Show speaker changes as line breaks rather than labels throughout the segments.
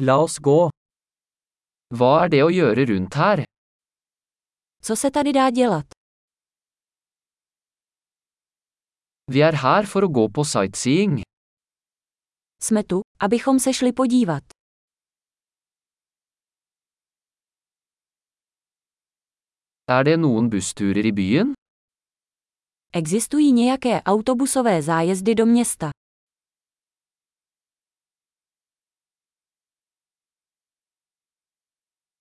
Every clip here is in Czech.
La oss gå. Hva er det å gjøre rundt her?
Co se tady dá dělat?
Vi er her for å gå på sightseeing.
Jsme tu, abychom se šli podívat.
Er det noen bussturer i byen?
Existují nějaké autobusové zájezdy do města.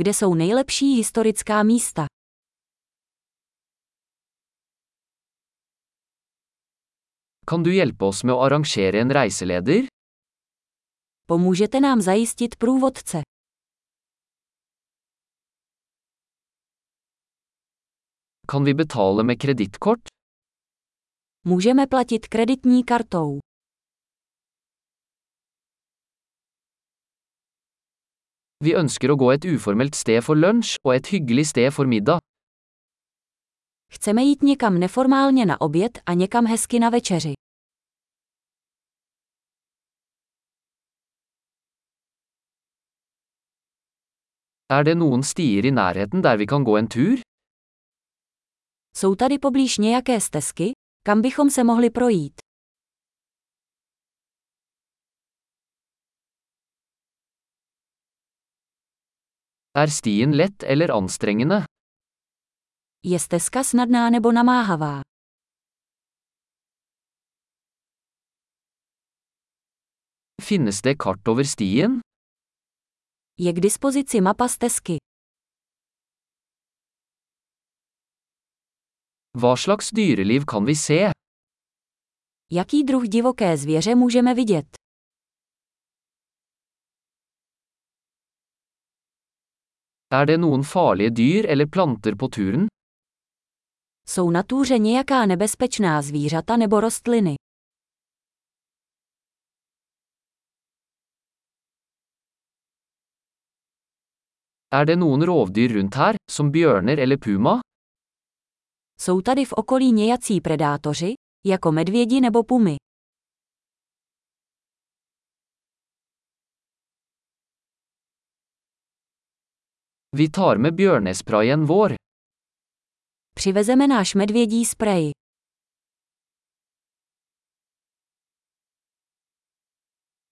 Kde jsou nejlepší historická místa?
Kan du hjelpe oss med å arrangere en reiseleder?
Pomůžete nám zajistit průvodce.
Kan vi betale med kredittkort?
Můžeme platit kreditní kartou.
Vi ønsker å gå et uformelt sted for lunsj og et hyggelig sted for middag.
Chceme jít někam neformálně na oběd a někam hezky na večeři.
Er det noen stier i nærheten der vi kan gå en tur?
Jsou tady poblíž nějaké stezky, kam bychom se mohli projít?
Er stien lett eller anstrengende?
Je stezka snadná nebo namáhavá?
Finnes det kart over stien?
Je k dispozici mapa stezky.
Hva slags dyreliv kan vi se?
Jaký druh divoké zvěře můžeme vidět?
Er det noen farlige dyr eller planter på turen?
Jsou na túře nějaká nebezpečná zvířata nebo rostliny?
Er det noen rovdyr rundt her, som bjørner eller puma?
Jsou tady v okolí nějací predátoři, jako medvědi nebo pumy?
Vi tar med bjørnesprayen vår.
Přivezeme náš medvědí sprej.